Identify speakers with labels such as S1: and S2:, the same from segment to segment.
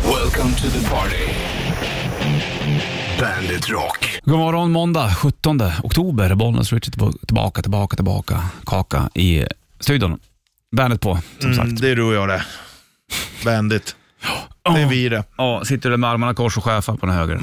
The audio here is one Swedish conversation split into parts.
S1: Welcome to the party. Bandit Rock.
S2: God morgon måndag 17 oktober. Bollnäs Richard tillb- tillbaka, tillbaka, tillbaka. Kaka i studion. Bandet på, som
S3: Mm,
S2: sagt.
S3: det är du och jag det. Bandit. Det är vi Mm. det.
S2: Ja, sitter du med armarna kors och chefar på den höger.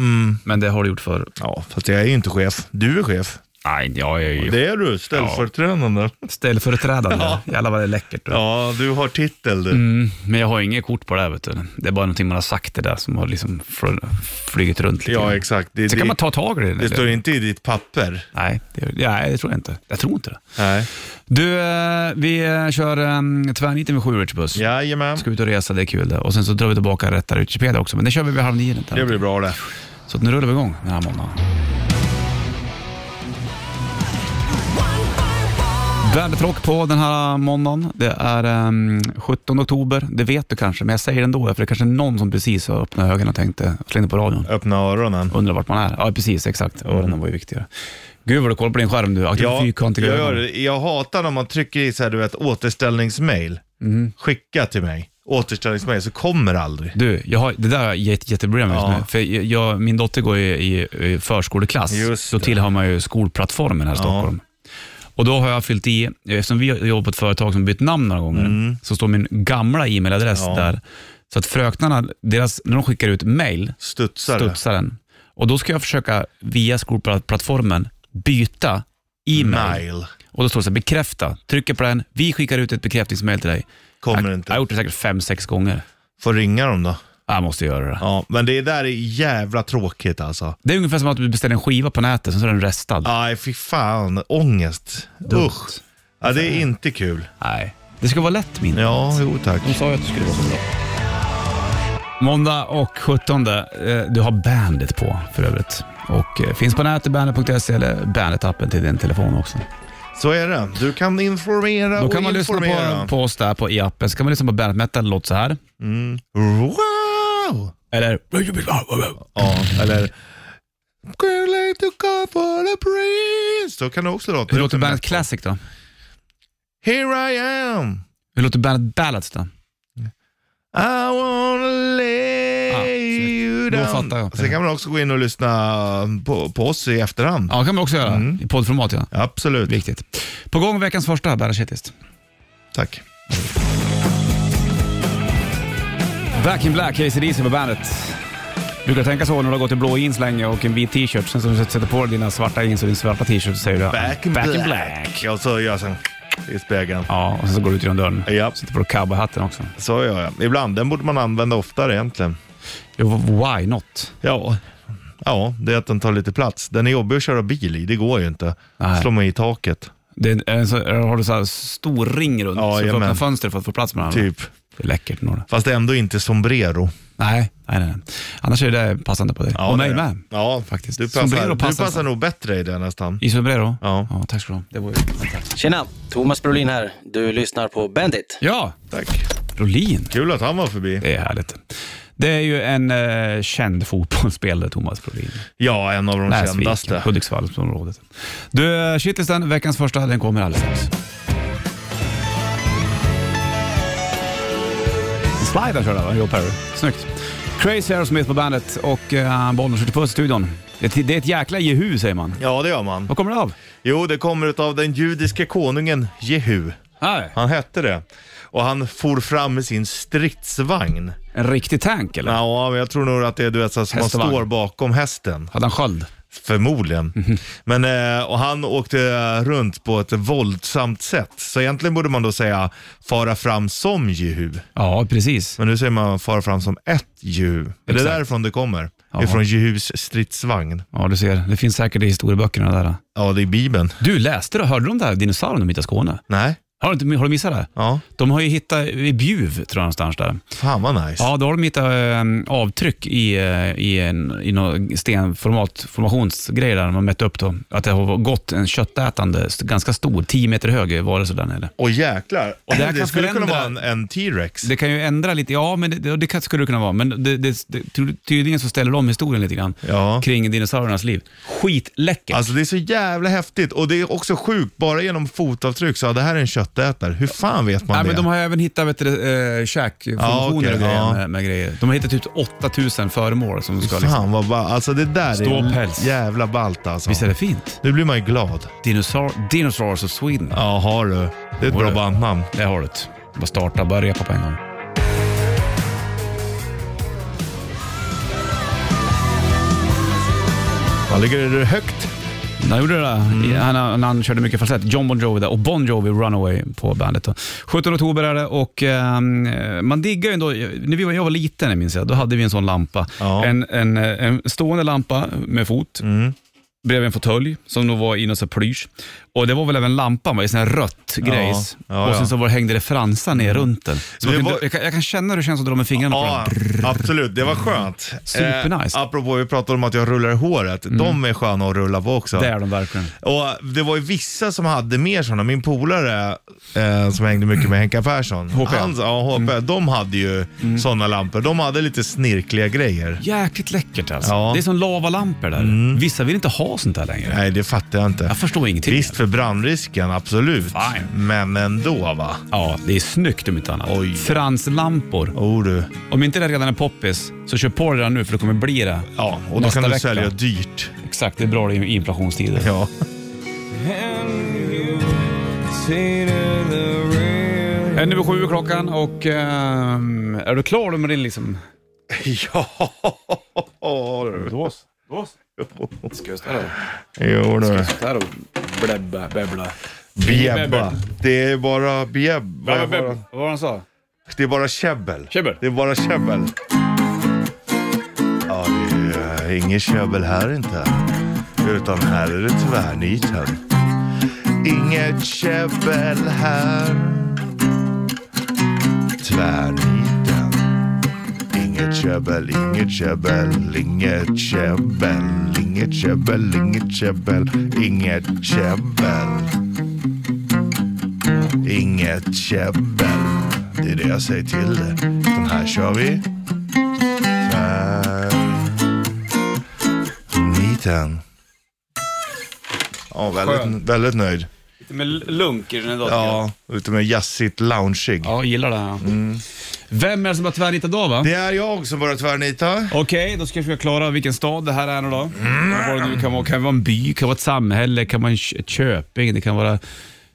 S2: Men det har du gjort förr.
S3: Ja, fast jag är ju inte chef. Du är chef.
S2: Nej, jag är ju
S3: Det är du, ställföreträdande. Ja.
S2: ställföreträdande. Jävlar vad det är läckert. du.
S3: ja, du har titel du.
S2: Mm, men jag har inget kort på det här, vet du. Det är bara någonting man har sagt det där som har liksom fl- flugit runt lite.
S3: Ja,
S2: grann.
S3: exakt. Det,
S2: Sen kan
S3: det,
S2: man ta tag i det.
S3: det
S2: eller?
S3: står inte i ditt papper.
S2: Nej, det, nej, det tror jag inte. Jag tror inte det.
S3: Nej.
S2: Du, eh, vi eh, kör um, tvärniten vid sju, Richard Puss.
S3: Jajamän.
S2: Ska ut och resa, det är kul det. Och sen så drar vi tillbaka rätta Wikipedia också, men det kör vi vid halv nio. inte?
S3: Det blir bra det.
S2: Så att nu rullar vi igång den här måndagen. Bandet Rock på den här måndagen. Det är ehm, 17 oktober, det vet du kanske, men jag säger det ändå för det är kanske någon som precis har öppnat ögonen och tänkte, slängde på radion.
S3: Öppna öronen.
S2: Undrar vart man är. Ja, precis, exakt. Öronen var ju viktigare. Gud vad du kollar på din skärm du. Aktiv
S3: Ja, jag,
S2: fyrkantiga
S3: gör,
S2: ögon.
S3: det. jag hatar när man trycker i så här, du vet, återställningsmail. Skicka till mig. Återställningsmail, så kommer det aldrig.
S2: Du, jag har, Mm. det där har jag jätte, jätteproblem med just
S3: Ja.
S2: nu. För jag, jag, min dotter går ju i, i förskoleklass.
S3: Just
S2: då
S3: det.
S2: tillhör man ju skolplattformen här i
S3: Ja.
S2: Stockholm. Och då har jag fyllt i, eftersom vi jobbar på ett företag som bytt namn några gånger, så står min gamla e-mailadress
S3: Mm. Ja.
S2: där. Så att fröknarna, deras, när de skickar ut mail,
S3: Studsar det.
S2: studsar den. Och då ska jag försöka via skolplattformen byta e-mail.
S3: Mail.
S2: Och då står det så här, bekräfta. Trycker på den, vi skickar ut ett bekräftningsmail till dig.
S3: Kommer
S2: jag, jag
S3: inte.
S2: har gjort det säkert fem, sex gånger.
S3: Får ringa dem då.
S2: Jag måste göra det.
S3: Ja, men det där är jävla tråkigt alltså.
S2: Det är ungefär som att du beställer en skiva på nätet, sen så är den restad.
S3: Aj, fy fan. Ångest. Usch. Ja, det är inte kul.
S2: Nej. Det ska vara lätt min.
S3: Ja, jo tack.
S2: De sa ju att det skulle vara så bra. Måndag och 17. eh, Du har Bandit på för övrigt. Och eh, finns på nätet, bandit.se eller Bandit-appen till din telefon också.
S3: Så är det. Du kan informera
S2: Då kan
S3: och
S2: man lyssna
S3: informera.
S2: på, på oss där på i appen. Så kan man lyssna på Bandit Metal, låt så här.
S3: Wow!
S2: Eller...
S3: Ja, eller... Girl, I took off for a breeze. Så kan det också låta.
S2: Hur låter Bandit Classic då?
S3: Here I am.
S2: Hur låter Bandit Ballads då?
S3: I wanna lay
S2: Ah, snyggt.
S3: you
S2: Då
S3: down.
S2: fattar jag.
S3: Sen kan man också gå in och lyssna på, på oss i efterhand.
S2: Ja, det kan man också göra.
S3: Mm.
S2: I poddformat ja.
S3: Absolut.
S2: Viktigt. På gång veckans första Bandit Shitlist.
S3: Tack.
S2: Back in Black, ACDC på bandet. Brukar tänka så när du har gått i blå jeans länge och en vit t-shirt. Sen så du sätter på dig dina svarta jeans och din svarta t-shirt så säger du
S3: Back in
S2: in
S3: black. Och så gör jag sen i spegeln.
S2: Ja, och sen så går du ut genom dörren.
S3: Ja,
S2: Sätter på dig cowboyhatten också.
S3: så gör jag. Ibland. Den borde man använda oftare egentligen.
S2: Jo, why not?
S3: Ja. Ja, det är att den tar lite plats. Den är jobbig att köra bil i, det går ju inte.
S2: Nej.
S3: Slår man i taket,
S2: Det är en, så, har du så här stor ring runt
S3: Ja,
S2: så du får
S3: jajamän.
S2: öppna fönster för att få plats med den. andra.
S3: typ.
S2: Det är läckert nog. det.
S3: Fast ändå inte sombrero.
S2: Nej, nej, nej. nej. Annars är det passande på dig. och mig
S3: det är det.
S2: med.
S3: Ja, faktiskt.
S2: Faktiskt.
S3: Du
S2: Sombrero
S3: passar, du
S2: passar
S3: passar
S2: så.
S3: nog bättre i det nästan.
S2: I sombrero?
S3: Ja.
S2: ja. Tack ska du ha. Det var ju...
S4: Tjena! Thomas Brolin här. Du lyssnar på Bandit.
S2: Ja,
S3: Tack.
S2: Rolin.
S3: Kul att han var förbi.
S2: Det är härligt. Det är ju en eh, känd fotbollsspelare, Thomas Brolin.
S3: Ja, en av de
S2: Näsviken,
S3: kändaste.
S2: Hudiksvallsområdet. Du, shitlisten, veckans första, den kommer alldeles strax. Sliden körde va? Joe Perry. Snyggt. Crazy Aerosmith på bandet och eh, Bollnäs skjuter puss i studion. Det, det är ett jäkla jehu säger man.
S3: Ja, det gör man.
S2: Vad kommer det av?
S3: Jo, det kommer av den judiske konungen Jehu.
S2: Nej.
S3: Han hette det. Och han for fram med sin stridsvagn.
S2: En riktig tank eller?
S3: Ja, men jag tror nog att det är du vet, så att man
S2: Hästvagn.
S3: står bakom hästen.
S2: Hade han sköld?
S3: Förmodligen. Men, eh, och han åkte runt på ett våldsamt sätt. Så egentligen borde man då säga fara fram som Jehu.
S2: Ja, precis.
S3: Men nu säger man fara fram som ett Jehu. Är det
S2: Exakt.
S3: därifrån det kommer?
S2: Jaha.
S3: Ifrån Jehus stridsvagn.
S2: Ja, du ser. Det finns säkert i historieböckerna där.
S3: Ja, det är Bibeln.
S2: Du, läste du? Hörde du om det här dinosaurien de hittade i Skåne?
S3: Nej?
S2: Har du, inte- har du missat det?
S3: Ja.
S2: De har ju hittat i Bjuv, tror jag någonstans där.
S3: Fan vad nice.
S2: Ja, då har de hittat eh, avtryck i, eh, i, en, i någon stenformat, formationsgrej där man mätte upp då. Att det har gått en köttätande, st- ganska stor, 10 meter hög varelse där nere.
S3: Och jäklar. Och
S2: här
S3: det,
S2: kan
S3: skulle kunna
S2: förändra-
S3: vara en, en T-Rex.
S2: Det kan ju ändra lite, ja men det, det, det kan- skulle det kunna vara, men det, det, det, tydligen så ställer de historien lite grann
S3: Ja.
S2: kring dinosauriernas liv. Skitläckert!
S3: Alltså det är så jävla häftigt och det är också sjukt, bara genom fotavtryck så ja, det här är en köttätare. Hur fan vet man
S2: Nej,
S3: det?
S2: men de har även hittat vet du, eh, käkformationer
S3: Ja, okej,
S2: och grejer,
S3: ja.
S2: med, med grejer. De har hittat ut 8000 föremål som de ska... Liksom.
S3: Fan vad ball. Alltså det där
S2: Ståpäls.
S3: är jävla ballt alltså.
S2: Visst är det fint?
S3: Nu blir man ju glad.
S2: Dinosaur, Dinosaurs of Sweden.
S3: Ja, har du. Det är ett
S2: Har
S3: bra
S2: du?
S3: bandnamn.
S2: Det har du. ett. Bara starta, bara repa på en gång.
S3: Man ligger det högt.
S2: Han gjorde det där. Han, han, han körde mycket falsett. John Bon Jovi där och Bon Jovi Runaway på bandet. då. 17 oktober är det och ehm, man diggar ju ändå, när vi var- jag var liten jag minns jag, då hade vi en sån lampa.
S3: Ja. Mm.
S2: En, en, eh, en stående lampa med fot. Bredvid en fåtölj som nog var i någon sån här plysch. Och det var väl även lampan va, i sån här rött grejs.
S3: Ja,
S2: och sen
S3: ja.
S2: så var, det- hängde det fransar ner runt den. Så man
S3: Det
S2: kan,
S3: var-
S2: jag, kan, jag kan känna hur det känns att dra med fingrarna på
S3: Ja,
S2: den.
S3: absolut. Det var skönt.
S2: Supernice. Mm.
S3: Eh, apropå, vi pratade om att jag rullar håret. De är sköna att rulla på också.
S2: Det är de verkligen.
S3: Och Det var ju vissa som hade mer sådana. Min polare eh, som hängde mycket med Henka Persson,
S2: HP.
S3: Hans, ja, HP, de hade ju sådana lampor. De hade lite snirkliga grejer.
S2: Jäkligt läckert alltså.
S3: Ja. Mm.
S2: Det är som lavalampor där. Vissa vill inte ha sånt där längre.
S3: Nej, det fattar jag inte.
S2: Jag förstår ingenting.
S3: Visst för brandrisken, absolut.
S2: Fine.
S3: Men ändå va.
S2: Ja, det är snyggt om inte annat.
S3: Oj.
S2: Franslampor.
S3: Oh, du.
S2: Om inte det redan är poppis, så kör på det där nu för det kommer bli det.
S3: Ja, och då
S2: Nästa
S3: kan du
S2: vecka.
S3: sälja dyrt.
S2: Exakt, det är bra i inflationstider.
S3: Ja.
S2: En över sju är klockan och ehm, är du klar då med din liksom...
S3: ja. du.
S2: Dås. Dås. Ska jag ställa
S3: Jo du.
S2: där och bläbba, bäbbla?
S3: Bjäbba. Det är bara bjäbba. Det är bara-
S2: Vad var han sa?
S3: Det är bara käbbel.
S2: Käbbel.
S3: Det är bara käbbel. Ja, det är eh, inget käbbel här inte. Utan här är det tvärniten. Inget käbbel här. Tvärniten. Inget käbbel, inget käbbel, inget käbbel, inget käbbel, inget käbbel, inget käbbel. Inget käbbel. Det är det jag säger till dig. Den här kör vi. Tvär. Niten. Ja,
S2: Skön.
S3: väldigt, väldigt nöjd.
S2: Lite med lunk i den idag. Ja.
S3: Ja, utom med jazzigt loungeig.
S2: ja, jag gillar det. här. Vem är det som har tvärnitat idag va?
S3: Det är jag som börjar tvärnita.
S2: Okej, då ska vi försöka klara vilken stad det här är nu då. Vad det nu kan vara. Kan det vara en by, kan det vara ett samhälle, kan vara en kö- ett köping, det kan vara...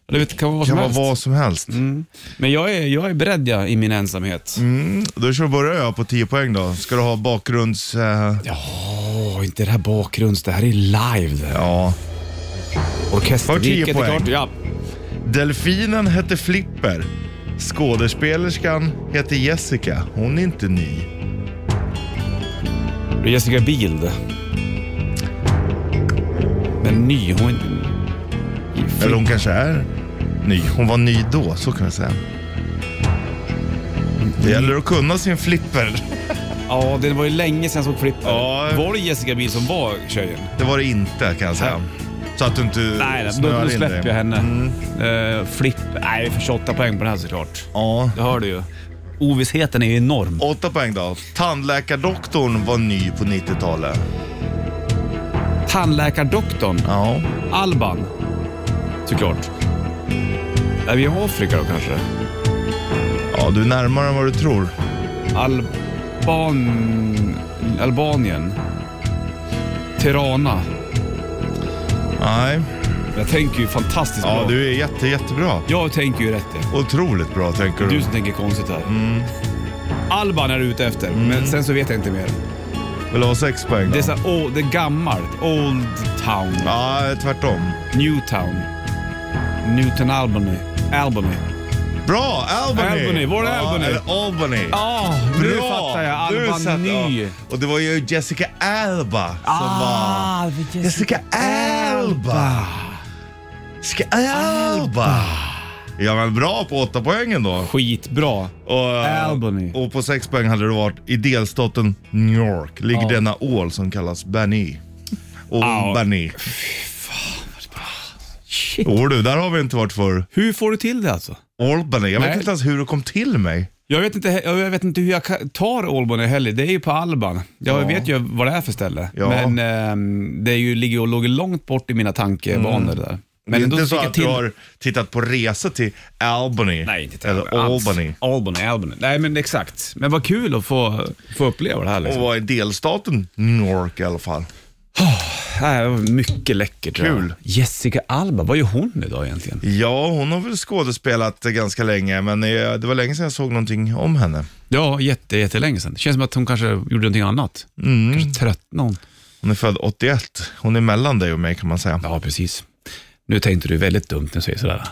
S2: Jag vet, det kan vara vad
S3: Det kan
S2: som
S3: vara
S2: helst.
S3: vad som helst.
S2: Mm. Men jag är, jag är beredd jag, i min ensamhet.
S3: Mm. Då kör börjar jag på 10 poäng då. Ska du ha bakgrunds... eh,
S2: Åh, inte det här bakgrunds... Det här är live det.
S3: ja.
S2: Orkesterriket är
S3: poäng.
S2: klart. Ja.
S3: Delfinen hette Flipper. Skådespelerskan heter Jessica. Hon är inte ny.
S2: Det är Jessica Biel. Men ny, hon är inte...
S3: Eller hon kanske är ny. Hon var ny då, så kan vi säga. Det gäller att kunna sin flipper.
S2: Ja, det var ju länge sedan jag såg Flipper.
S3: Ja.
S2: Var det Jessica Biel som var tjejen?
S3: Det var det inte kan jag säga. Så att du inte
S2: Nej, då,
S3: snöar
S2: då
S3: in
S2: släpper
S3: dig. Mm.
S2: jag henne. Eh, flipp... Nej, vi får 28 poäng på den här såklart.
S3: Ja.
S2: Det hör du ju. Ovissheten är ju enorm.
S3: Åtta poäng då. Tandläkardoktorn var ny på 90-talet.
S2: Tandläkardoktorn,
S3: Ja.
S2: Alban. Såklart. Är vi i Afrika då kanske?
S3: ja, du är närmare än vad du tror.
S2: Alban... Albanien. Tirana.
S3: Nej.
S2: Jag tänker ju fantastiskt
S3: Ja,
S2: bra.
S3: du är jätte, jättebra.
S2: Jag tänker ju rätt. ja.
S3: Otroligt bra tänker
S2: Du
S3: du.
S2: som tänker konstigt här.
S3: Mm.
S2: Alban är du ute efter, men sen så vet jag inte mer.
S3: Vill du ha sex poäng då?
S2: Det är, så här, oh, det är gammalt. Old town.
S3: Ja, tvärtom.
S2: Newtown. Newton Albany. Albany.
S3: Bra! Albany!
S2: Albany, var är
S3: Ja,
S2: Albany?
S3: eller Albany.
S2: Ja, nu
S3: Ah, Bra!
S2: fattar jag.
S3: Du
S2: Alban Ny.
S3: ja. Och det var ju Jessica Alba som var...
S2: Ah, det var
S3: Jessica Alba! Jessica Alba! Ja men bra på åtta poängen då.
S2: Skitbra.
S3: Och,
S2: Albany.
S3: Och på sex poäng hade det varit i delstaten New York ligger denna ål som kallas Benny. Och
S2: Au.
S3: Benny.
S2: Shit.
S3: Jo du, där har vi inte varit för
S2: Hur får du till det alltså?
S3: Albany. Jag
S2: Nej.
S3: vet inte ens hur det kom till mig.
S2: Jag vet inte, he- jag vet inte hur jag ka- tar Albany heller. Det är ju på Alban. Jag
S3: Ja.
S2: vet ju vad det är för ställe.
S3: Ja.
S2: Men ehm, det är ju, ligger och låg långt bort i mina tankebanor där.
S3: Men Mm. det är
S2: ändå
S3: inte så
S2: fick jag
S3: att du
S2: till-
S3: har tittat på resa till Albany.
S2: Nej, inte till
S3: Eller
S2: alls.
S3: Albany.
S2: Albany, Albany. Nej, men exakt. Men vad kul att få, få uppleva det här.
S3: Och
S2: Liksom.
S3: var i delstaten New York i alla fall.
S2: Nej, det var mycket läckert. tror jag.
S3: Kul.
S2: Jessica Alba, vad gör hon idag egentligen?
S3: Ja, hon har väl skådespelat eh, ganska länge, men eh, det var länge sedan jag såg någonting om henne.
S2: Ja, jätte, jättelänge sedan. Det känns som att hon kanske gjorde någonting annat. Kanske tröttnade hon.
S3: Hon är född 81. Hon är mellan dig och mig kan man säga.
S2: Ja, precis. Nu tänkte du väldigt dumt när du säger sådär.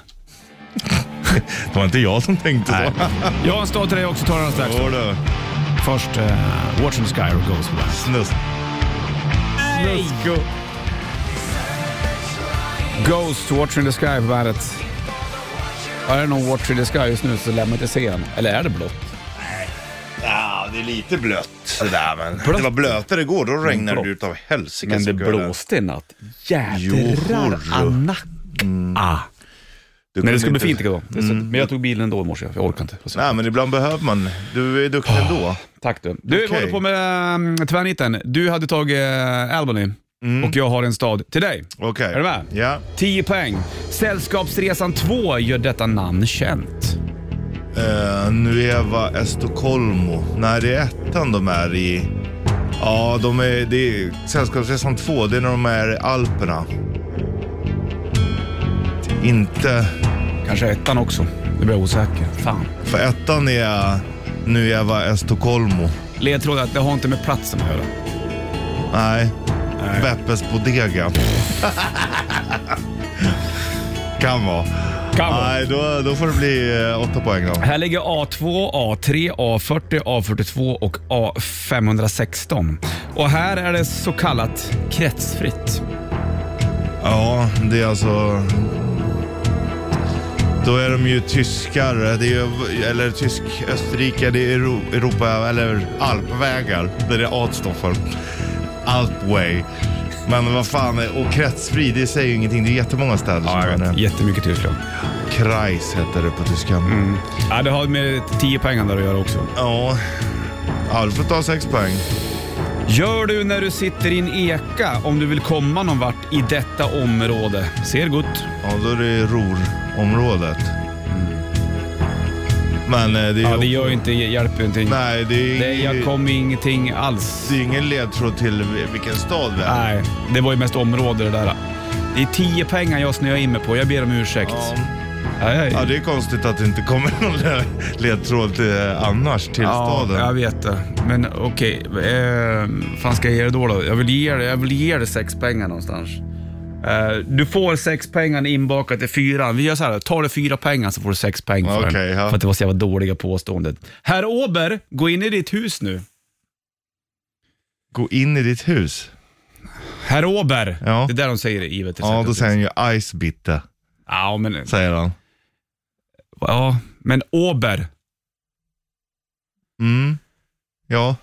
S3: Det var inte jag som tänkte
S2: Nej.
S3: så.
S2: Jag har en stad till dig också, tar den strax.
S3: Hör du,
S2: Först eh, Watch and Sky och Ghost på bandet.
S3: snus. Snusko.
S2: Ghost, Watch in the Sky på bandet. Är det någon Watch in the Sky just nu så lär man inte se den. Eller är det blått?
S3: Ja, det är lite blött sådär, men
S2: Blött.
S3: det var blötare igår. Då regnade
S2: blått.
S3: det utav helsike.
S2: Men det
S3: så kul.
S2: blåste i natt.
S3: Johorro.
S2: Jädrar anacka.
S3: Du
S2: Men
S3: kunde
S2: det ska bli
S3: Mm. inte- Mm.
S2: fint idag. Det är så- Men jag tog bilen ändå i morse, jag orkar inte. Så-
S3: Nej, men ibland behöver man. Du är duktig ändå.
S2: Tack du. Du, vi
S3: Okej.
S2: håller på med um, tvärniten. Du hade tagit eh, Albany
S3: Mm.
S2: och jag har en stad till dig.
S3: Okej.
S2: Är du med?
S3: Ja.
S2: 10 poäng. Sällskapsresan 2 gör detta namn känt.
S3: Eh, Nueva Estocolmo. Nej, det är ettan de är i. Ja, de är, det är Sällskapsresan 2. Det är när de är i Alperna. Inte...
S2: Kanske ettan också. Nu blir jag osäker. Fan.
S3: För ettan är Nueva Estocolmo.
S2: Ledtråd är att det har inte med platsen att göra.
S3: Nej. Beppes Bodega. kan vara.
S2: Kan vara.
S3: Nej, då, då får det bli eh, åtta poäng då.
S2: Här ligger A2, A3, A40, A42 och A516. Och här är det så kallat kretsfritt.
S3: Ja, det är alltså... Då är de ju tyskar, det är, ju- eller tysk-Österrike, det är Euro- Europa, eller alpvägar. Där det är står för. Alpway. Men vad fan, och kretsfri, det säger ju ingenting. Det är jättemånga städer som har det.
S2: Jättemycket Tyskland.
S3: Kreis heter det på tyska.
S2: Mm. Ja, det har med 10 poängen där att göra också.
S3: Ja. Ja, du får ta sex poäng.
S2: Gör du när du sitter i en eka om du vill komma någon vart i detta område? Ser gott.
S3: Ja, då är det Ruhrområdet. Men eh, det är
S2: Mm. Ja, det gör ju inte, hjälper ju ingenting.
S3: Nej, det är,
S2: Det, jag kom med ingenting alls.
S3: Det är ingen ledtråd till vilken stad vi är.
S2: Nej, det var ju mest område det där. Det är 10 pengar jag snöar in mig på. Jag ber om ursäkt.
S3: Ja.
S2: Ja, jag-
S3: Ja, det är konstigt att det inte kommer någon le- ledtråd till, eh, annars till staden.
S2: jag vet det. Men okej, eh, fan ska jag ge det då? då? Jag, vill ge det, jag vill ge det sex pengar någonstans. Eh, du får sex pengar inbakat i fyran. Vi gör så här, tar du fyra pengar så får du sex pengar för
S3: Okej,
S2: den.
S3: ja.
S2: För att det var så jävla dåliga påståendet. Herr Åber, gå in i ditt hus nu.
S3: Gå in i ditt hus.
S2: Herr Åber.
S3: Ja.
S2: Det är där de säger det i givet.
S3: Ja, då säger han ju Eisbitte,
S2: Ja, men,
S3: säger han.
S2: ja, men Åber.
S3: Mm. Ja,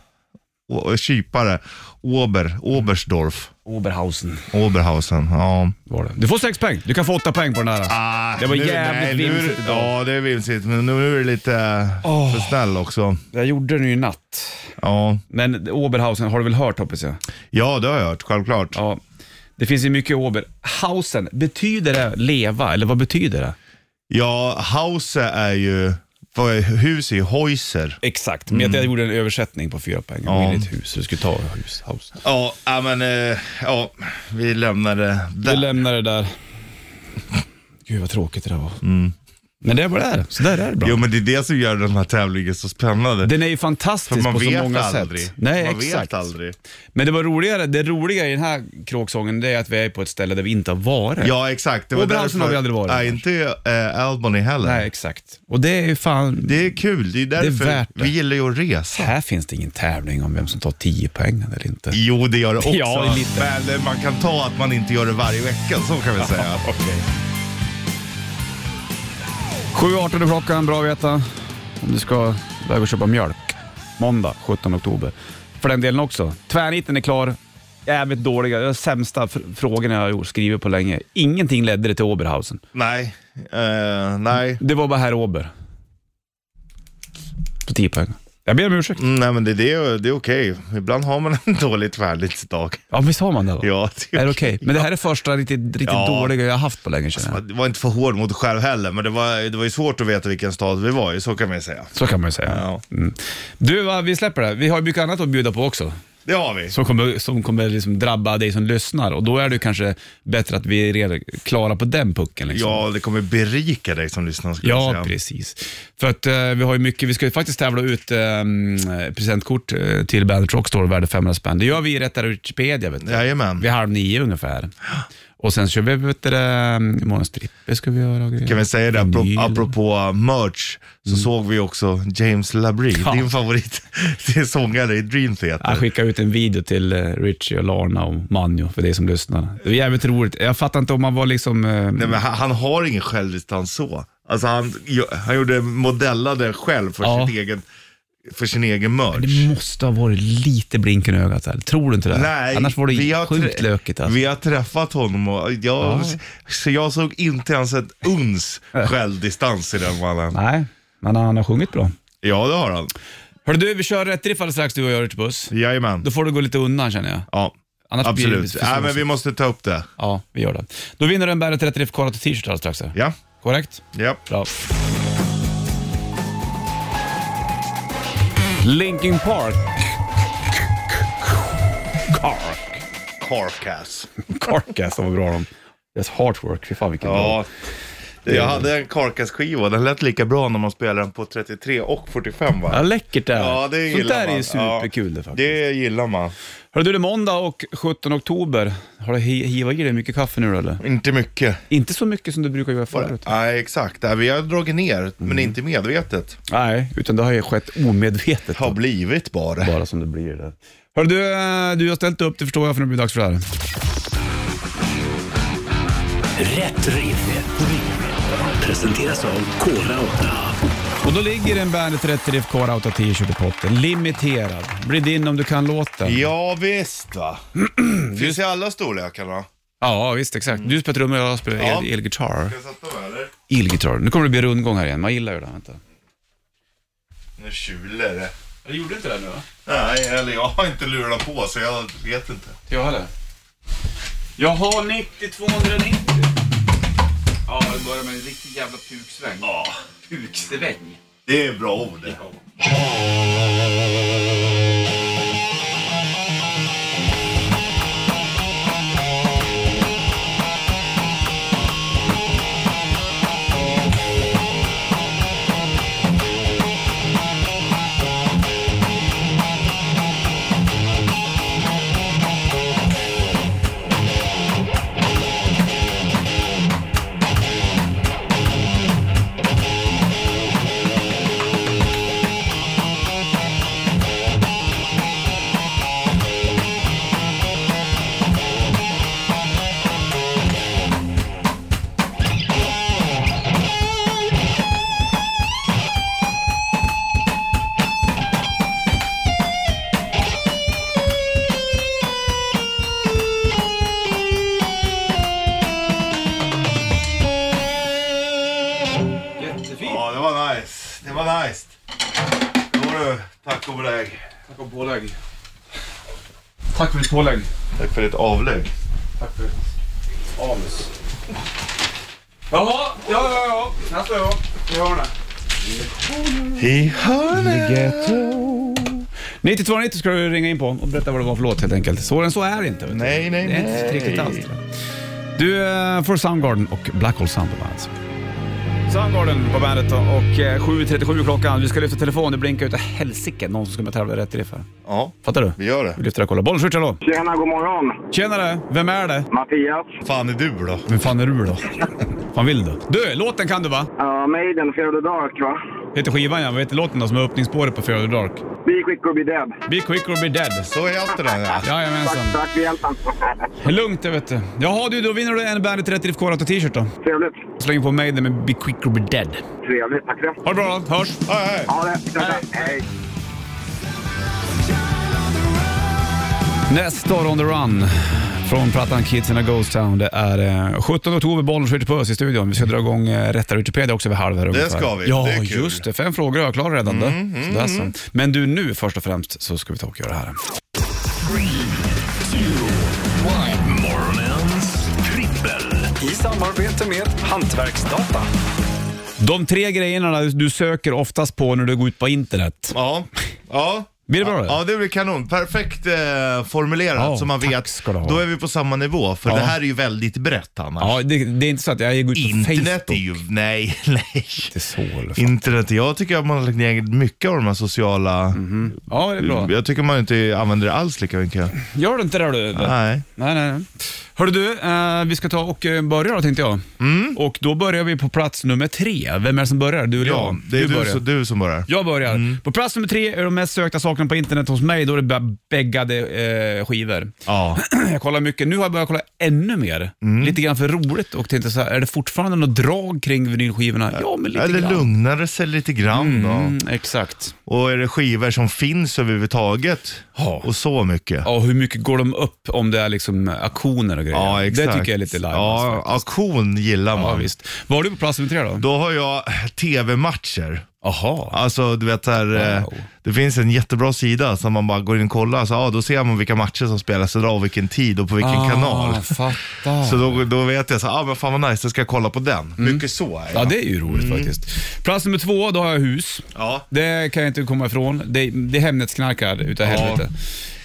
S3: Å- eh, kypare. Ober, Oberstdorf,
S2: Oberhausen
S3: Oberhausen. Ja.
S2: var det. Du får sex poäng. Du kan få åtta poäng på den här.
S3: Ah,
S2: Det var
S3: nu-
S2: jävligt
S3: nu är
S2: vimsigt
S3: det-
S2: idag.
S3: Ja, det är vimsigt, men nu är det lite eh,
S2: Åh.
S3: för snäll också.
S2: Jag gjorde den ju i natt.
S3: Ja.
S2: Men Oberhausen har du väl hört hoppas jag?
S3: ja, det har jag hört, självklart.
S2: Ja, det finns ju mycket Oberhausen. Betyder det leva, eller vad betyder det?
S3: Ja, Hause är ju, vad är, hus är ju Heuser.
S2: Exakt, men jag gjorde en översättning på fyra poäng.
S3: Ja.
S2: Ja. Ditt hus, du skulle ta hus, house.
S3: Ja, ja, men eh, ja, vi lämnar det
S2: Vi
S3: där.
S2: lämnar det där. Gud vad tråkigt det där var. Men det var det där, så där är det bra.
S3: Jo, men det är det som gör den här tävlingen så spännande.
S2: Den är ju
S3: För
S2: fantastisk
S3: man
S2: på så
S3: vet
S2: många
S3: aldrig.
S2: sätt. Nej,
S3: man
S2: exakt.
S3: vet aldrig.
S2: Men det var roligare, det roliga i den här kråksången det är att vi är på ett ställe där vi inte har varit.
S3: Ja, exakt. Det var därför-
S2: Oberhausen har vi aldrig varit.
S3: Nej, inte eh, Albany heller.
S2: Nej, exakt. Och det är ju fan...
S3: Det är kul. Det är därför
S2: värt det.
S3: vi gillar ju att resa.
S2: Här finns det ingen tävling om vem som tar 10 poäng eller inte.
S3: Jo, det gör det också.
S2: Ja, lite.
S3: Men eh, man kan ta att man inte gör det varje vecka, så kan vi säga.
S2: 7.18 är klockan, bra att veta. Om du ska iväg och köpa mjölk. Måndag 17 oktober. För den delen också. Tvärniten är klar. Jävligt dåliga, de sämsta fr- frågorna jag har gjort- skrivit på länge. Ingenting ledde det till Oberhausen.
S3: nej, eh, nej.
S2: Det var bara herr Ober. På 10 poäng. Jag ber om ursäkt.
S3: Mm, nej men det, det, är- det är okej. Ibland har man en dålig tvärnitsdag.
S2: Ja, visst har man det? Då?
S3: Ja, det
S2: Är det okej? Men det här är första riktigt, riktigt
S3: Ja.
S2: dåliga jag har haft på länge känner jag.
S3: Det var inte för hård mot själv heller, men det var, det var ju svårt att veta vilken stad vi var i, så kan man ju säga.
S2: Så kan man ju säga.
S3: Ja.
S2: Mm. Du, va, vi släpper det. här. Vi har ju mycket annat att bjuda på också.
S3: Det har vi.
S2: Som kommer, som kommer liksom drabba dig som lyssnar och då är det kanske bättre att vi är redan klara på den pucken. Liksom.
S3: Ja, det kommer berika dig som lyssnar skulle jag
S2: Ja,
S3: säga.
S2: precis. För att eh, vi har ju mycket, vi ska ju faktiskt tävla ut eh, presentkort eh, till Bandet Rockstore värde 500 spänn. Det gör vi i Rättare Wikipedia, vet du.
S3: Jajamän.
S2: Vid halv nio ungefär. Och sen kör vi, vet du, eh, morgonens stripper ska vi göra. och grejer.
S3: Kan vi säga det, apropå,
S2: Vinyl. Mm.
S3: apropå merch, så såg vi också James Labrie,
S2: Ja.
S3: din favorit till sångare i Dream
S2: Jag
S3: Theater.
S2: skickade ut en video till eh, Richie och Lana och Manjo för dig som lyssnar. Det var jävligt roligt. Jag fattar inte om man var liksom... eh,
S3: Nej, men han, han har ingen självdistans så. Alltså han, jo- han gjorde, modellade själv för,
S2: Ja.
S3: sin, egen, för sin egen merch.
S2: Det måste ha varit lite blinken i ögat där. Tror du inte det?
S3: Nej,
S2: Annars var det
S3: vi har
S2: sjukt
S3: trä-
S2: lökigt. Alltså.
S3: Vi har träffat honom och jag, så jag såg inte ens ett uns självdistans i den mannen.
S2: Nej, men han har sjungit bra.
S3: Ja, det har han.
S2: Hörru du, vi kör rätt riff alldeles strax du och jag, Richie Puss.
S3: Jajamän.
S2: Då får du gå lite undan känner jag.
S3: Ja,
S2: Annars blir det
S3: absolut.
S2: för
S3: Nej,
S2: svårt.
S3: men vi måste ta upp det.
S2: Ja, vi gör det. Då vinner du en Bandet Rätt Riff Karate t-shirt alldeles strax. här.
S3: Ja,
S2: Korrekt?
S3: ja.
S2: Bra. Linkin Park. Kark.
S3: Carcass.
S2: Carcass, vad bra de. Deras Heartwork, fy fan vilken bra.
S3: Ja. Jag hade en Carcass-skiva, den lät lika bra när man spelade den på 33 och 45 va?
S2: Ja, läckert det här.
S3: Ja, det
S2: Sånt
S3: gillar
S2: där
S3: man.
S2: är ju superkul det
S3: ja,
S2: faktiskt.
S3: Det gillar man.
S2: Hörru du, det är måndag och 17 oktober. Har du hi- hivat i dig mycket kaffe nu då eller?
S3: Inte mycket.
S2: Inte så mycket som du brukar göra förut.
S3: Nej, exakt. Nej, Vi har dragit ner,
S2: Mm.
S3: men inte medvetet.
S2: Nej, utan det har ju skett omedvetet.
S3: Har blivit bara.
S2: Bara som det blir det. Hörru du, eh, du har ställt upp, det förstår jag för nu blir det dags för det här.
S1: Rätt riff. Presenteras av Kora 8.
S2: Och då ligger en Bandet Rätt Riff Core Auto T-shirt i potten. Limiterad. Blir din om du kan låten.
S3: Ja visst va. Finns i alla storlekarna.
S2: Ja, visst exakt. Du spelar trummor och jag spelar
S3: Ja.
S2: el- elgitarr.
S3: Ska jag sätta mig eller?
S2: Elgitarr. Nu kommer det bli rundgång här igen. Man gillar ju det. här, Vänta.
S3: Nu tjuler det.
S2: Du gjorde inte det nu va?
S3: Nej, eller jag har inte lurat på så jag vet inte.
S2: Jag heller. Jag har 90-290. Ja, det börjar med en riktig jävla puksväng. Ja. Puksväng.
S3: Det är bra ord det.
S2: Jättefint.
S3: Ja, det var nice. Det var nice. Då du, tack och belägg.
S2: Tack för pålägg. Tack för ditt pålägg.
S3: Tack för ditt avlägg.
S2: Tack för anus. Jaha, ja, ja, ja. Här står jag. I hörnet.
S3: I hörnet.
S2: 9290 ska du ringa in på och berätta vad det var för låt helt enkelt. Svårare än så är det inte. Vet du.
S3: Nej, nej,
S2: Det är inte
S3: nej.
S2: riktigt alls. tror jag. Du eh, får Soundgarden och Black Hole Sound alltså. på bandet. Soundgarden på bandet då, och eh, 7.37 klockan. Vi ska lyfta telefon, det blinkar utav helsike någon som ska med tävla i rätt riff här.
S3: Ja,
S2: Fattar du?
S3: vi gör det.
S2: Vi lyfter och kollar. Bollswitch, hallå!
S5: Tjena, god morgon.
S2: Tjenare, vem är det?
S5: Mattias.
S3: Fan är du då?
S2: Vem fan är du då? fan vill du? Du, låten kan du va?
S5: Ja, Maiden, Fear the Dark, va?
S2: Heter skivan ja, vad heter låten då som är öppningsspåret på Fear of the Dark?
S5: Be quick or be dead.
S2: Be quick or be dead.
S3: Så är jag inte den. Ja.
S2: Jajamensan.
S5: Tack, tack för hjälpen.
S2: Lugnt det vet du. Jaha du, då vinner du en Bandet Rätt Riff Korata t-shirt då.
S5: Trevligt.
S2: Släng på Maiden med Be Quick or Be Dead.
S5: Trevligt, tack för det.
S2: Ha det bra då, hörs!
S3: Hej, hej.
S5: Ha det. Tack, tack. Hej.
S2: Nästa år on the run. Från plattan Kids in a Ghost Town. Det är eh, 17 oktober, Bollnäs skjuter på oss i studion. Vi ska dra igång eh, Rätta Wikipedia också vid halv här ungefär.
S3: ska vi.
S2: Ja,
S3: Det är kul.
S2: just det. Fem frågor har jag klarat redan. Mm, Sådär, så. Men du, nu först och främst så ska vi ta och göra det här.
S1: Morgonens trippel.
S6: I samarbete med Hantverksdata.
S2: De tre grejerna du söker oftast på när du går ut på internet.
S3: Ja. Ja.
S2: Blir det bra
S3: ja,
S2: det?
S3: ja, det blir kanon. Perfekt eh, formulerat
S2: Ja,
S3: så man
S2: tack
S3: vet.
S2: ska du ha.
S3: Då är vi på samma nivå. För
S2: Ja.
S3: det här är ju väldigt brett annars.
S2: Ja, det, det är inte så att jag går ut på
S3: Internet är
S2: Facebook.
S3: ju... Nej, nej.
S2: Inte så, eller fan.
S3: Internet, jag tycker att man har lagt ner mycket av de här sociala...
S2: Mhm.
S3: Mm,
S2: Ja, det är bra.
S3: Jag tycker man inte använder det alls lika mycket.
S2: Gör du inte det du?
S3: Nej.
S2: Nej, nej, nej. Hörru du, eh, vi ska ta och eh, börja då tänkte jag.
S3: Mm.
S2: Och då börjar vi på plats nummer tre. Vem är det som börjar? Du eller
S3: Ja,
S2: jag?
S3: det är du, Mm.
S2: börjar.
S3: som- du som börjar.
S2: Jag börjar. På plats nummer tre är de mest sökta sakerna på internet hos mig. Då är det bäggade eh, skivor.
S3: Ja.
S2: Jag kollar mycket. Nu har jag börjat kolla ännu mer.
S3: Mm.
S2: Lite grann för roligt och tänkte så här, är det fortfarande något drag kring vinylskivorna? Ja, men lite
S3: Eller
S2: grann.
S3: lugnar det sig lite grann då.
S2: Mm, exakt.
S3: Och är det skivor som finns överhuvudtaget?
S2: Ja.
S3: Och så mycket.
S2: Ja, hur mycket går de upp om det är liksom auktioner och grejer?
S3: Ja, exakt.
S2: Det tycker jag är lite live.
S3: Ja,
S2: alltså.
S3: auktion gillar man.
S2: ja, visst. Vad har du på plats nummer tre då?
S3: Då har jag tv-matcher.
S2: Jaha.
S3: Alltså du vet här, eh,
S2: Wow.
S3: det finns en jättebra sida som man bara går in och kollar, så, ah, då ser man vilka matcher som spelas idag och vilken tid och på vilken
S2: Ah,
S3: kanal.
S2: Fattar.
S3: Så då, då vet jag så här, ah, men fan vad nice, då ska jag kolla på den. Mycket så är
S2: Mm. Ja,
S3: jag.
S2: det är ju roligt faktiskt. Plats nummer två, då har jag hus.
S3: Ja.
S2: Det kan jag inte komma ifrån. Det, det är Hemnetsknarkar utav
S3: Ja.
S2: helvete.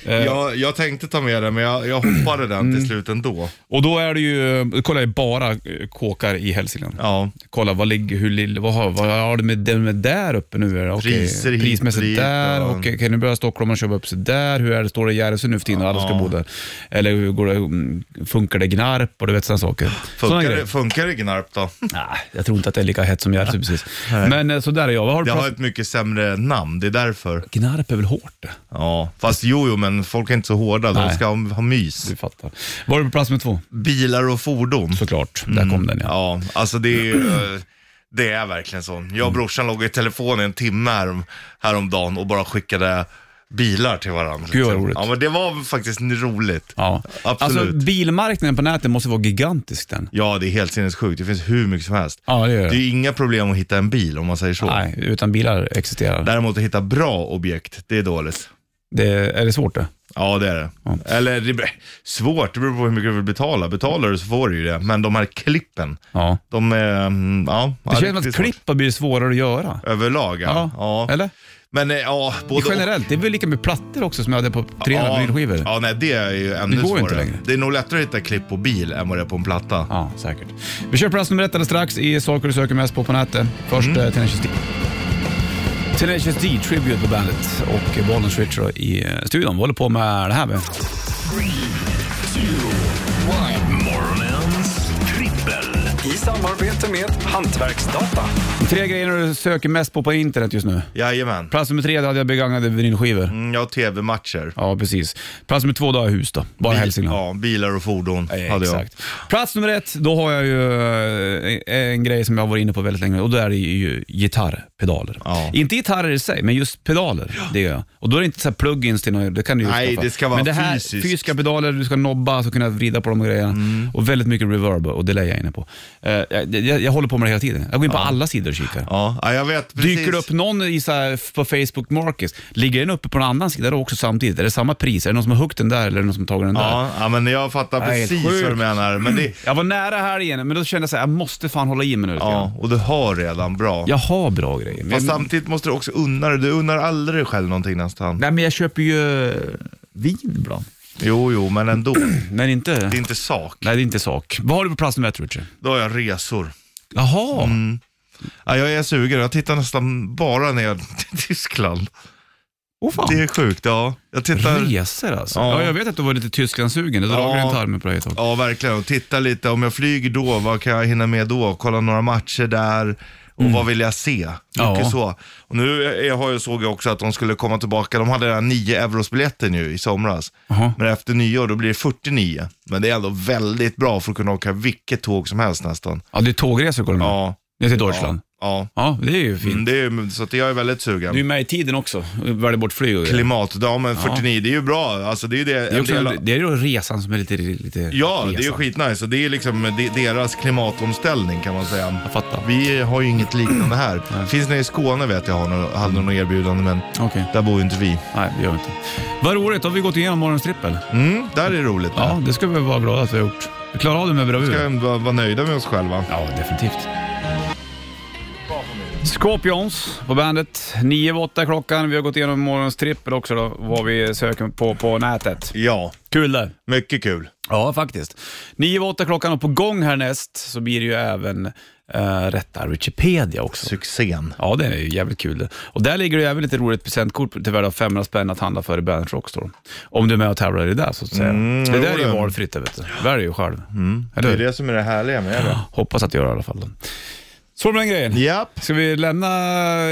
S2: Eh,
S3: Jag, jag tänkte ta med den, men jag, jag hoppade den
S2: Mm.
S3: till slut ändå.
S2: Och då är det ju, då kollar jag bara eh, kåkar i Hälsingland.
S3: Ja.
S2: Kolla, vad ligger, hur lill, vad har, vad har du med den med där uppe nu? Är det? Okej,
S3: Priser hit och
S2: Prismässigt
S3: dit,
S2: där,
S3: ja.
S2: okej, okej, nu börjar stockholmarna köpa upp sig där. Hur är det, står det i Järvsö nu för tiden och alla ska bo där? Eller hur går det, mm, funkar det i Gnarp och du vet sådana saker. Såna
S3: Funkar,
S2: grejer.
S3: det, funkar det Gnarp då?
S2: Nej, jag tror inte att det är lika hett som Järvsö precis. Men eh, så där är jag. Vad har du
S3: Det har
S2: pratat?
S3: ett mycket sämre namn, det är därför.
S2: Gnarp är väl hårt det?
S3: Ja. Fast jo, jo, men folk är inte så hårda, de
S2: Nej.
S3: ska ha, ha mys.
S2: Vi fattar. Var du på plats med två?
S3: Bilar och fordon.
S2: Såklart,
S3: Mm.
S2: där kom den ja.
S3: Ja, alltså det är ju, eh, det är verkligen så. Jag och brorsan låg i telefon i en timme härom, häromdagen och bara skickade bilar till varandra. Liksom.
S2: Gud, vad roligt.
S3: Ja, men det var faktiskt roligt.
S2: ja.
S3: Absolut.
S2: Alltså bilmarknaden på nätet måste vara gigantisk den.
S3: Ja, det är helt sinnessjukt. Det finns hur mycket som helst.
S2: Ja, det gör
S3: Det är ju inga problem att hitta en bil om man säger så.
S2: Nej, utan bilar existerar.
S3: Däremot att hitta bra objekt, det är dåligt.
S2: Det, är det svårt det?
S3: Ja, det är det. Eller det är svårt, det beror på hur mycket du vill betala. Betalar du så får du ju det. Men de här klippen,
S2: Ja.
S3: de är... mm, Ja,
S2: Det
S3: ja,
S2: känns som
S3: riktigt
S2: att
S3: svårt.
S2: klippa blir svårare att göra.
S3: Överlag, ja. ja.
S2: Eller?
S3: Men eh, ja, både och.
S2: Generellt, det är väl lika med plattor också som jag hade på tre vinylskivor. Ja.
S3: Ja, nej det är ju ännu
S2: Det går ju inte
S3: svårare.
S2: längre.
S3: Det är nog lättare att hitta klipp på bil än vad det är på en platta.
S2: säkert. Vi kör plats nummer ett alldeles strax i saker du söker mest på på nätet. Först mm. Tenacious D. Tenacious D, Tribute på bandet och Bollnäs Richard i eh, studion. Vi håller på med det här med.
S1: Morgonens trippel.
S6: I samarbete med Hantverksdata.
S2: De tre grejerna du söker mest på på internet just nu.
S3: Jajamän.
S2: Plats nummer tre, där hade jag begagnade vinylskivor.
S3: Mm, Ja, tv-matcher.
S2: Ja, precis. Plats nummer två, då har jag hus då. Bara
S3: Bil-
S2: Hälsingland.
S3: Ja, bilar och fordon
S2: Eh,
S3: hade jag.
S2: Exakt. Plats nummer ett, då har jag ju eh, en, en grej som jag har varit inne på väldigt länge och då är det ju gitarrpedaler.
S3: Ja.
S2: Inte gitarrer i sig, men just pedaler. Det gör jag. Och då är det inte så här plugins till något, det kan du ju
S3: Nej,
S2: skaffa.
S3: det ska vara
S2: men det här,
S3: fysiskt. Mm.
S2: fysiska pedaler, du ska nobba och kunna vrida på de grejerna. Och väldigt mycket reverb och delay jag är inne på. Eh, jag, jag, jag håller på med det hela tiden. Jag går in på alla sidor och kikar.
S3: Ja, ja, jag vet precis.
S2: Dyker det upp någon i så här på Facebook Markets, ligger den uppe på en annan sida då också samtidigt? Är det samma pris? Är det någon som har huggit den där eller är det någon som tagit den där?
S3: Ja, ja, men jag fattar
S2: Nej, helt
S3: precis vad du
S2: sjukt.
S3: menar. Men det,
S2: Jag var nära här igen, men då kände jag så här, jag måste fan hålla i mig nu lite
S3: ja,
S2: grann.
S3: och du har redan bra.
S2: Jag har bra grejer. Men
S3: Fast
S2: jag,
S3: samtidigt måste du också unna dig. Du unnar aldrig dig själv någonting nästan.
S2: nej, men jag köper ju eh, vin ibland.
S3: Jo, jo, men ändå. Det
S2: Men inte...
S3: är inte sak.
S2: Nej, det är inte sak. Vad har du på plats nummer ett, Richard?
S3: Då har jag resor.
S2: Jaha.
S3: Mm. Ja, jag är sugen. Jag tittar nästan bara ner till Tyskland.
S2: Åh fan.
S3: Det är sjukt, ja. Jag tittar...
S2: Resor alltså.
S3: Ja.
S2: Ja. jag vet att du var lite Tysklandssugen. Det dragit
S3: Ja.
S2: runt armen på dig ett tag.
S3: Ja, verkligen. Och titta lite, om jag flyger då, vad kan jag hinna med då? Kolla några matcher där. Och vad vill jag se? Mycket
S2: Mm. Ja.
S3: så. Och nu eh, jag har jag såg jag också att de skulle komma tillbaka. De hade den här 9 eurosbiljetten ju i somras.
S2: Jaha.
S3: Men efter nyår då blir det 49. Men det är ändå väldigt bra för att kunna åka vilket tåg som helst nästan.
S2: Ja, det är tågresor går det med.
S3: Ja.
S2: Ner till Deutschland.
S3: Ja. Ja.
S2: Ja, det är ju fint.
S3: Mm, Det är, ju- så att jag är väldigt sugen.
S2: Du är med i tiden också, väljer bort flyg och grejer.
S3: Klimatdamen 49, det är ju bra. Alltså det är ju det.
S2: det är,
S3: en
S2: också,
S3: del av-
S2: det är ju resan som är lite... lite
S3: Ja, det är ju
S2: resan.
S3: skitnice. Och det är liksom de- deras klimatomställning kan man säga.
S2: Jag fattar.
S3: Vi har ju inget liknande här. Finns nere i Skåne vet jag har några, hade några erbjudande men
S2: Okej.
S3: där bor ju inte vi.
S2: Nej, det gör vi inte. Vad roligt, då har vi gått igenom morgonens trippel.
S3: Mm, där är det roligt.
S2: Ja, det ska vi vara glada att vi har gjort. Vi klarar av det med bravur.
S3: Vi ska ändå vara vara nöjda med oss själva.
S2: Ja, definitivt. Scorpions på bandet. 9 över 8 klockan. Vi har gått igenom morgonens trippel också då, vad vi söker på på nätet.
S3: Ja,
S2: Kul det.
S3: mycket kul.
S2: Ja, faktiskt. 9 över 8 klockan och på gång härnäst så blir det ju även eh, rätta Wikipedia också.
S3: Succén.
S2: Ja, det är ju jävligt kul det. Och där ligger det även lite roligt presentkort till värde av 500 spänn att handla för i Bandet Rockstore. Om du är med och tävlar i det där så att säga.
S3: Mm,
S2: det där är ju
S3: jo, det.
S2: valfritt det vet du. Välj ju själv.
S3: Det
S2: Eller
S3: är
S2: hur?
S3: det som är det härliga med det.
S2: Hoppas att du gör det i alla fall. då. Så med den grejen.
S3: Japp.
S2: Ska vi lämna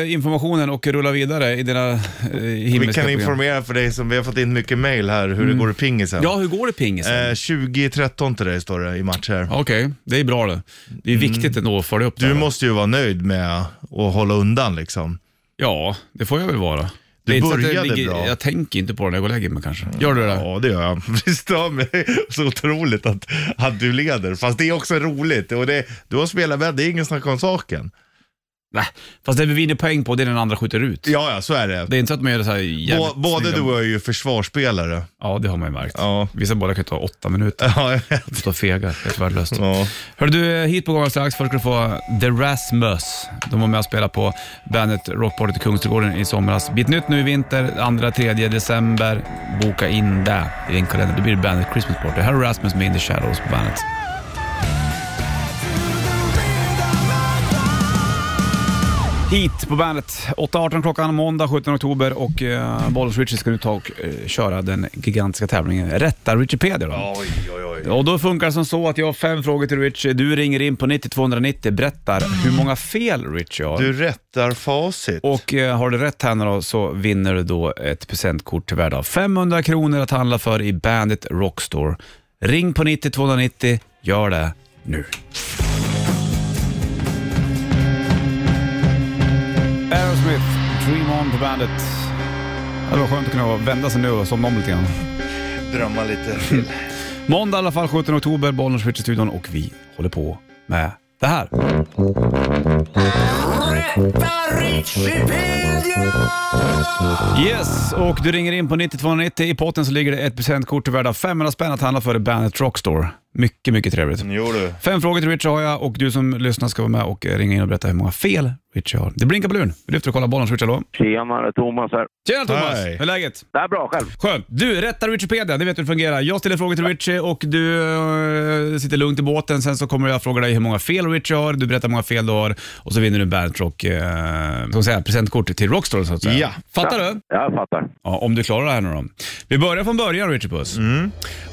S2: informationen och rulla vidare i dina eh, himmelska
S3: Vi kan
S2: program? Mm.
S3: informera för dig som vi har fått in mycket mail här hur det går i pingisen.
S2: Ja, hur går det pingisen?
S3: Eh, 20-13 till dig står det i match här.
S2: Okej, det är bra det. Det är viktigt ändå att följa upp det.
S3: Mm. Du
S2: här.
S3: måste ju vara nöjd med att hålla undan liksom.
S2: Ja, det får jag väl vara. Det är inte så att det
S3: började
S2: ligger-
S3: bra. Mm.
S2: Jag tänker inte på det när jag går och lägger mig kanske. Gör du det?
S3: Ja, det gör jag. Det stör mig så otroligt att, att du leder. Fast det är också roligt. Och det, du har spelat med, det är ingen snack om saken.
S2: Nej, fast det vi vinner poäng på det är den andra skjuter ut.
S3: Ja, ja, så är det.
S2: Det är inte så att man gör det så här
S3: Bå,
S2: jävligt
S3: både
S2: snygga-
S3: du och jag är ju försvarsspelare.
S2: Ja, det har man ju märkt.
S3: Ja.
S2: Vissa båda kan ju ta åtta minuter.
S3: Ja, jag vet.
S2: Stå fega, helt värdelöst.
S3: Ja.
S2: Hör du, eh, hit på gång strax. Först ska du få The Rasmus. De var med och spelade på bandet Rockbordet i Kungsträdgården i somras. Bit nytt nu i vinter, 2-3 december. Boka in det i din kalender. Det blir bandet Christmas Party. Här är Rasmus med In the Shadows på bandet. Hit på bandet. 8.18 klockan måndag 17 oktober och eh, Bollnäs Richie ska nu ta och eh, köra den gigantiska tävlingen Rätta Wikipedia då.
S3: Oj, oj, oj.
S2: Och då funkar det som så att jag har fem frågor till Richie. Du ringer in på 90290, berättar hur många fel Richie har.
S3: Du rättar facit.
S2: Och eh, har du rätt här nu då så vinner du då ett presentkort till värde av 500 kronor att handla för i Bandit Rockstore. Ring på 90290, gör det nu. Aerosmith, Dream On på Bandit. Ja, Det var skönt att kunna vända sig nu och somna om lite grann.
S3: Drömma lite till.
S2: Måndag i alla fall, 17 oktober, Bollnäs Switch i studion och vi håller på med det här. Yes, och du ringer in på 9290. I potten så ligger det ett presentkort värda 500 spänn att handla för i Bandet Rockstore. Mycket, mycket trevligt.
S3: Jo du.
S2: Fem frågor till Richard har jag och du som lyssnar ska vara med och eh, ringa in och berätta hur många fel Richard har. Det blinkar på luren. Vi lyfter och kollar bollen, Richard. Hallå?
S5: Tjenare, Thomas här.
S2: Tjena Thomas!
S3: Hej.
S2: Hur är läget?
S5: Det är bra, själv.
S2: Skönt. Du, rätta Wikipedia, det vet du hur det fungerar. Jag ställer frågor till Richie och du eh, sitter lugnt i båten. Sen så kommer jag fråga dig hur många fel Richie har, du berättar hur många fel du har och så vinner du en Bandet Rock, eh, ska man säga, presentkort till Rockstore så att säga.
S3: Ja.
S2: Fattar du?
S5: Jag fattar.
S2: Ja, om du klarar det här nu då. Vi börjar från början Richie Puss.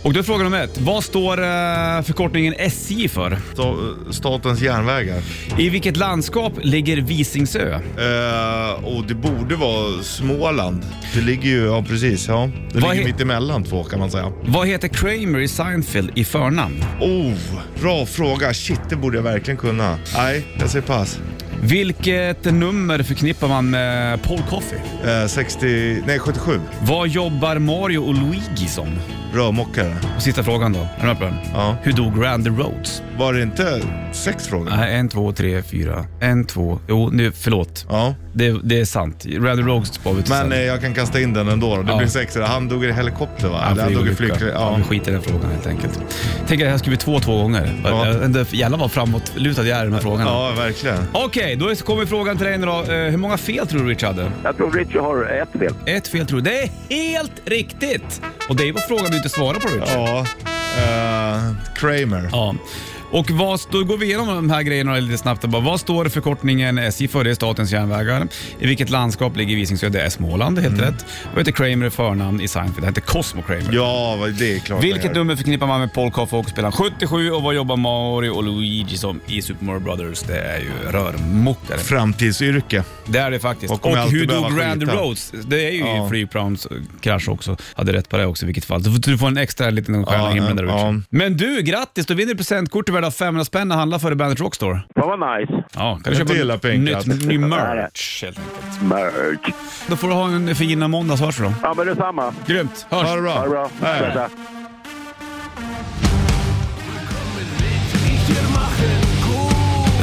S2: Och då är fråga nummer ett. Vad står eh, förkortningen SJ för?
S3: Sta- Statens järnvägar.
S2: I vilket landskap ligger Visingsö?
S3: Eh, och det borde vara Småland. Det ligger ju, ja precis, ja. Det
S2: Vad
S3: ligger
S2: he-
S3: mitt emellan två kan man säga.
S2: Vad heter Kramer i Seinfeld i förnamn?
S3: Oh, bra fråga. Shit, det borde jag verkligen kunna. Nej, jag säger pass.
S2: Vilket nummer förknippar man med Paul Coffey?
S3: Eh, 60, nej 77.
S2: Vad jobbar Mario och Luigi som?
S3: Rörmokare.
S2: Och sista frågan då. Är du med på den?
S3: Ja.
S2: Hur dog Randy Rhodes?
S3: Var det inte sex frågor?
S2: Nej, en, två, tre, fyra. En, två. Jo, nu, förlåt.
S3: Ja,
S2: Det, det är sant. Randy Rhodes var vi
S3: men
S2: tillsammans.
S3: eh, jag kan kasta in den ändå. då. Det
S2: Ja.
S3: blir sex. Han dog i helikopter va?
S2: Ja,
S3: Eller han dog i
S2: flygolycka.
S3: flygplan.
S2: Ja,
S3: Ja.
S2: vi skiter i den frågan helt enkelt. Tänk att jag skrev två två gånger.
S3: Ja.
S2: Ja. Jävlar vad framåtlutad jag är i den här frågan.
S3: ja, verkligen.
S2: Okej, då är- kommer frågan till dig nu då. Eh, Hur många fel tror du Richard hade?
S5: Jag tror Richie har ett fel.
S2: Ett fel tror du. Det är helt riktigt! Och det var frågan du inte svarade på Richard.
S3: Ja, eh, Kramer.
S2: Ja. Och vad stå, går vi igenom de här grejerna lite snabbt. Bara, vad står förkortningen SJ för? Det är Statens järnvägar. I vilket landskap ligger Visingsö? Det är Småland, helt rätt. Vad heter Kramer i förnamn i Seinfeld? Det heter Cosmo Kramer.
S3: Mm. Ja, vad- det är klart han
S2: Vilket
S3: gör.
S2: nummer förknippar man med Paul Coffey och spelaren 77 och vad jobbar Mario och Luigi som i Super Mario Brothers? Det är ju rörmokare.
S3: Framtidsyrke.
S2: Det är det faktiskt.
S3: Och
S2: Och,
S3: kommer alltid
S2: hur
S3: behöva
S2: dog Randy
S3: skita.
S2: Rhodes? Det är ju
S3: Ja.
S2: i flygplanskrasch också. Hade rätt på det också i vilket fall. Du får, du får en extra liten stjärna i
S3: Ja,
S2: himlen där
S3: ja.
S2: Richard. Men du, grattis! Du vinner presentkort till värda 500 spänn att handla för i Bandet Rockstore.
S5: Fan vad nice.
S2: Ja, kan
S3: Jag
S2: du
S3: delar
S2: köpa
S3: på en katt.
S2: nytt, ny merch helt enkelt.
S5: Merch.
S2: Då får du ha en fin måndag så hörs vi då.
S5: Ja, men detsamma.
S2: Grymt, hörs!
S3: Ha det bra.
S5: Ha det bra.
S3: Hej.
S5: Tja, tja.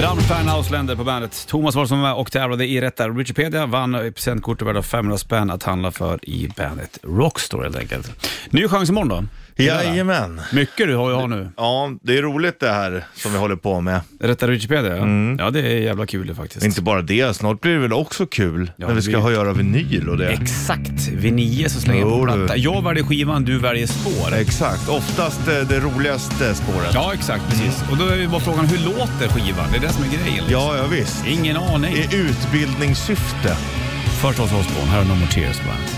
S2: Rammstein Ausländer på bandet. Thomas var som var och tävlade i rätta Wikipedia. Vann ett presentkort värda 500 spänn att handla för i bandet Rockstore helt enkelt. Ny chans imorgon då.
S3: Jajamän.
S2: Mycket du har jag har nu.
S3: Ja, det är roligt det här som vi håller på med.
S2: Rätta Wikipedia, ja. ja det är jävla kul det faktiskt.
S3: Mm. Inte bara det, snart blir det väl också kul när
S2: Ja,
S3: vi
S2: det
S3: ska
S2: blir-
S3: ha göra vinyl och det.
S2: Exakt, vid nio så slänger jag på
S3: Jo, du.
S2: platta. Jag väljer skivan, du väljer spår.
S3: Exakt, oftast eh, det roligaste spåret.
S2: Ja, exakt, precis. Och då är ju bara frågan, hur låter skivan? Det är det som är grejen. liksom.
S3: Ja, ja visst.
S2: Ingen aning.
S3: I utbildningssyfte.
S2: Först oss Osbourne, här har No More Tears på bandet.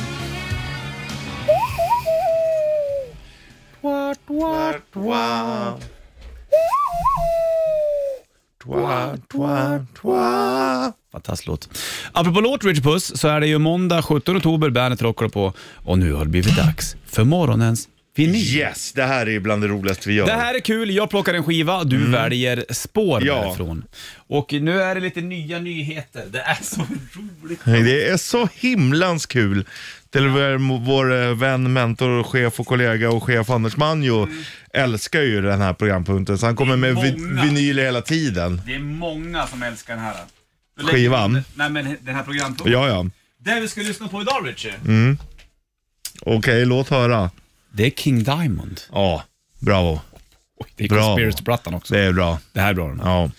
S2: Fantastisk låt. Apropå låt Richard Puss så är det ju måndag 17 oktober, bandet rockar på och nu har det blivit dags för morgonens vinyl.
S3: Yes, det här är bland det roligaste vi gör.
S2: Det här är kul, jag plockar en skiva, du väljer spår
S3: Mm. Ja.
S2: därifrån. Och nu är det lite nya nyheter, det är så roligt.
S3: Det är så himlans kul. Till vår, vår eh, vän, mentor, chef och kollega och chef Anders Manjo älskar ju den här programpunkten. Så han kommer med vi,
S2: Många.
S3: vinyl hela tiden.
S2: Det är många som älskar den här.
S3: Skivan.
S2: Nej men den här programpunkten.
S3: Ja, Mm. ja.
S2: Det vi ska lyssna på idag Richie.
S3: Okej, låt höra.
S2: Det är King Diamond.
S3: Ja, bravo.
S2: Det är
S3: Bra.
S2: Conspiracy-plattan också.
S3: Det är bra.
S2: Det här är bra den här.
S3: Ja.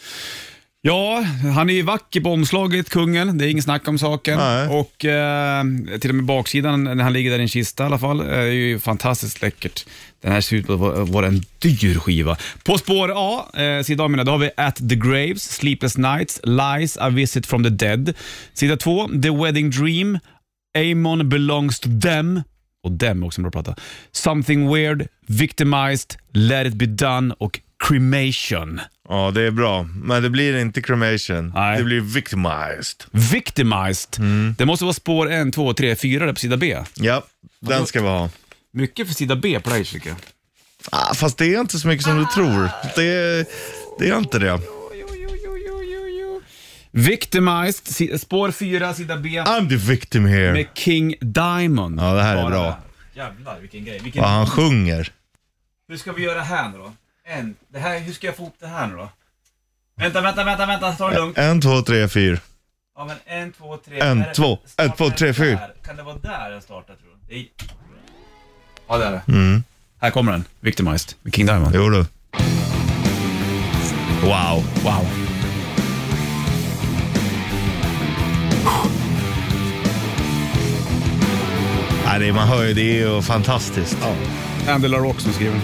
S2: Ja, han är ju vacker på omslaget, kungen. Det är ingen snack om saken.
S3: Nej.
S2: Och eh, till och med baksidan, när han ligger där i en kista i alla fall, är ju fantastiskt läckert. Den här ser ut att va- vara en dyr skiva. På spår A, eh, sida A menar jag, då har vi At the Graves, Sleepless Nights, Lies, A Visit from the Dead. Sida 2, The Wedding Dream, Amon Belongs to Them. Och Them är också en bra platta. Something Weird, Victimized, Let It Be Done och Cremation.
S3: ja, det är bra. Men det blir inte cremation.
S2: Nej.
S3: Det blir victimized.
S2: Victimized. Det måste vara spår 1, 2, 3, 4 där på sida B.
S3: Ja, den ska vi ha.
S2: Mycket för sida B på dig tycker jag.
S3: Ah, fast det är inte så mycket som du tror. Det, det är inte det.
S2: Victimized, si- spår 4, sida B
S3: I'm the victim here.
S2: med King Diamond.
S3: Ja, det här är
S2: Bara
S3: bra.
S2: där. Jävlar vilken grej. Vilken...
S3: Vad han sjunger.
S2: Hur ska vi göra här nu då? En. Det här, hur ska jag få ihop det här nu då? Vänta, vänta, vänta, vänta, ta det lugnt.
S3: En, två, tre, fyra.
S2: Ja, men en, två, tre.
S3: En,
S2: Är det-
S3: två, ett,
S2: startar
S3: två,
S2: den
S3: tre, fyra.
S2: där? Kan det vara där den startar tror du? Det är... Ja, det är det.
S3: Mm.
S2: Här kommer den. Victimized, med King Diamond.
S3: Jo du. Wow.
S2: Wow.
S3: Ja, det, man hör ju, det är ju fantastiskt.
S2: Andy LaRock som skriver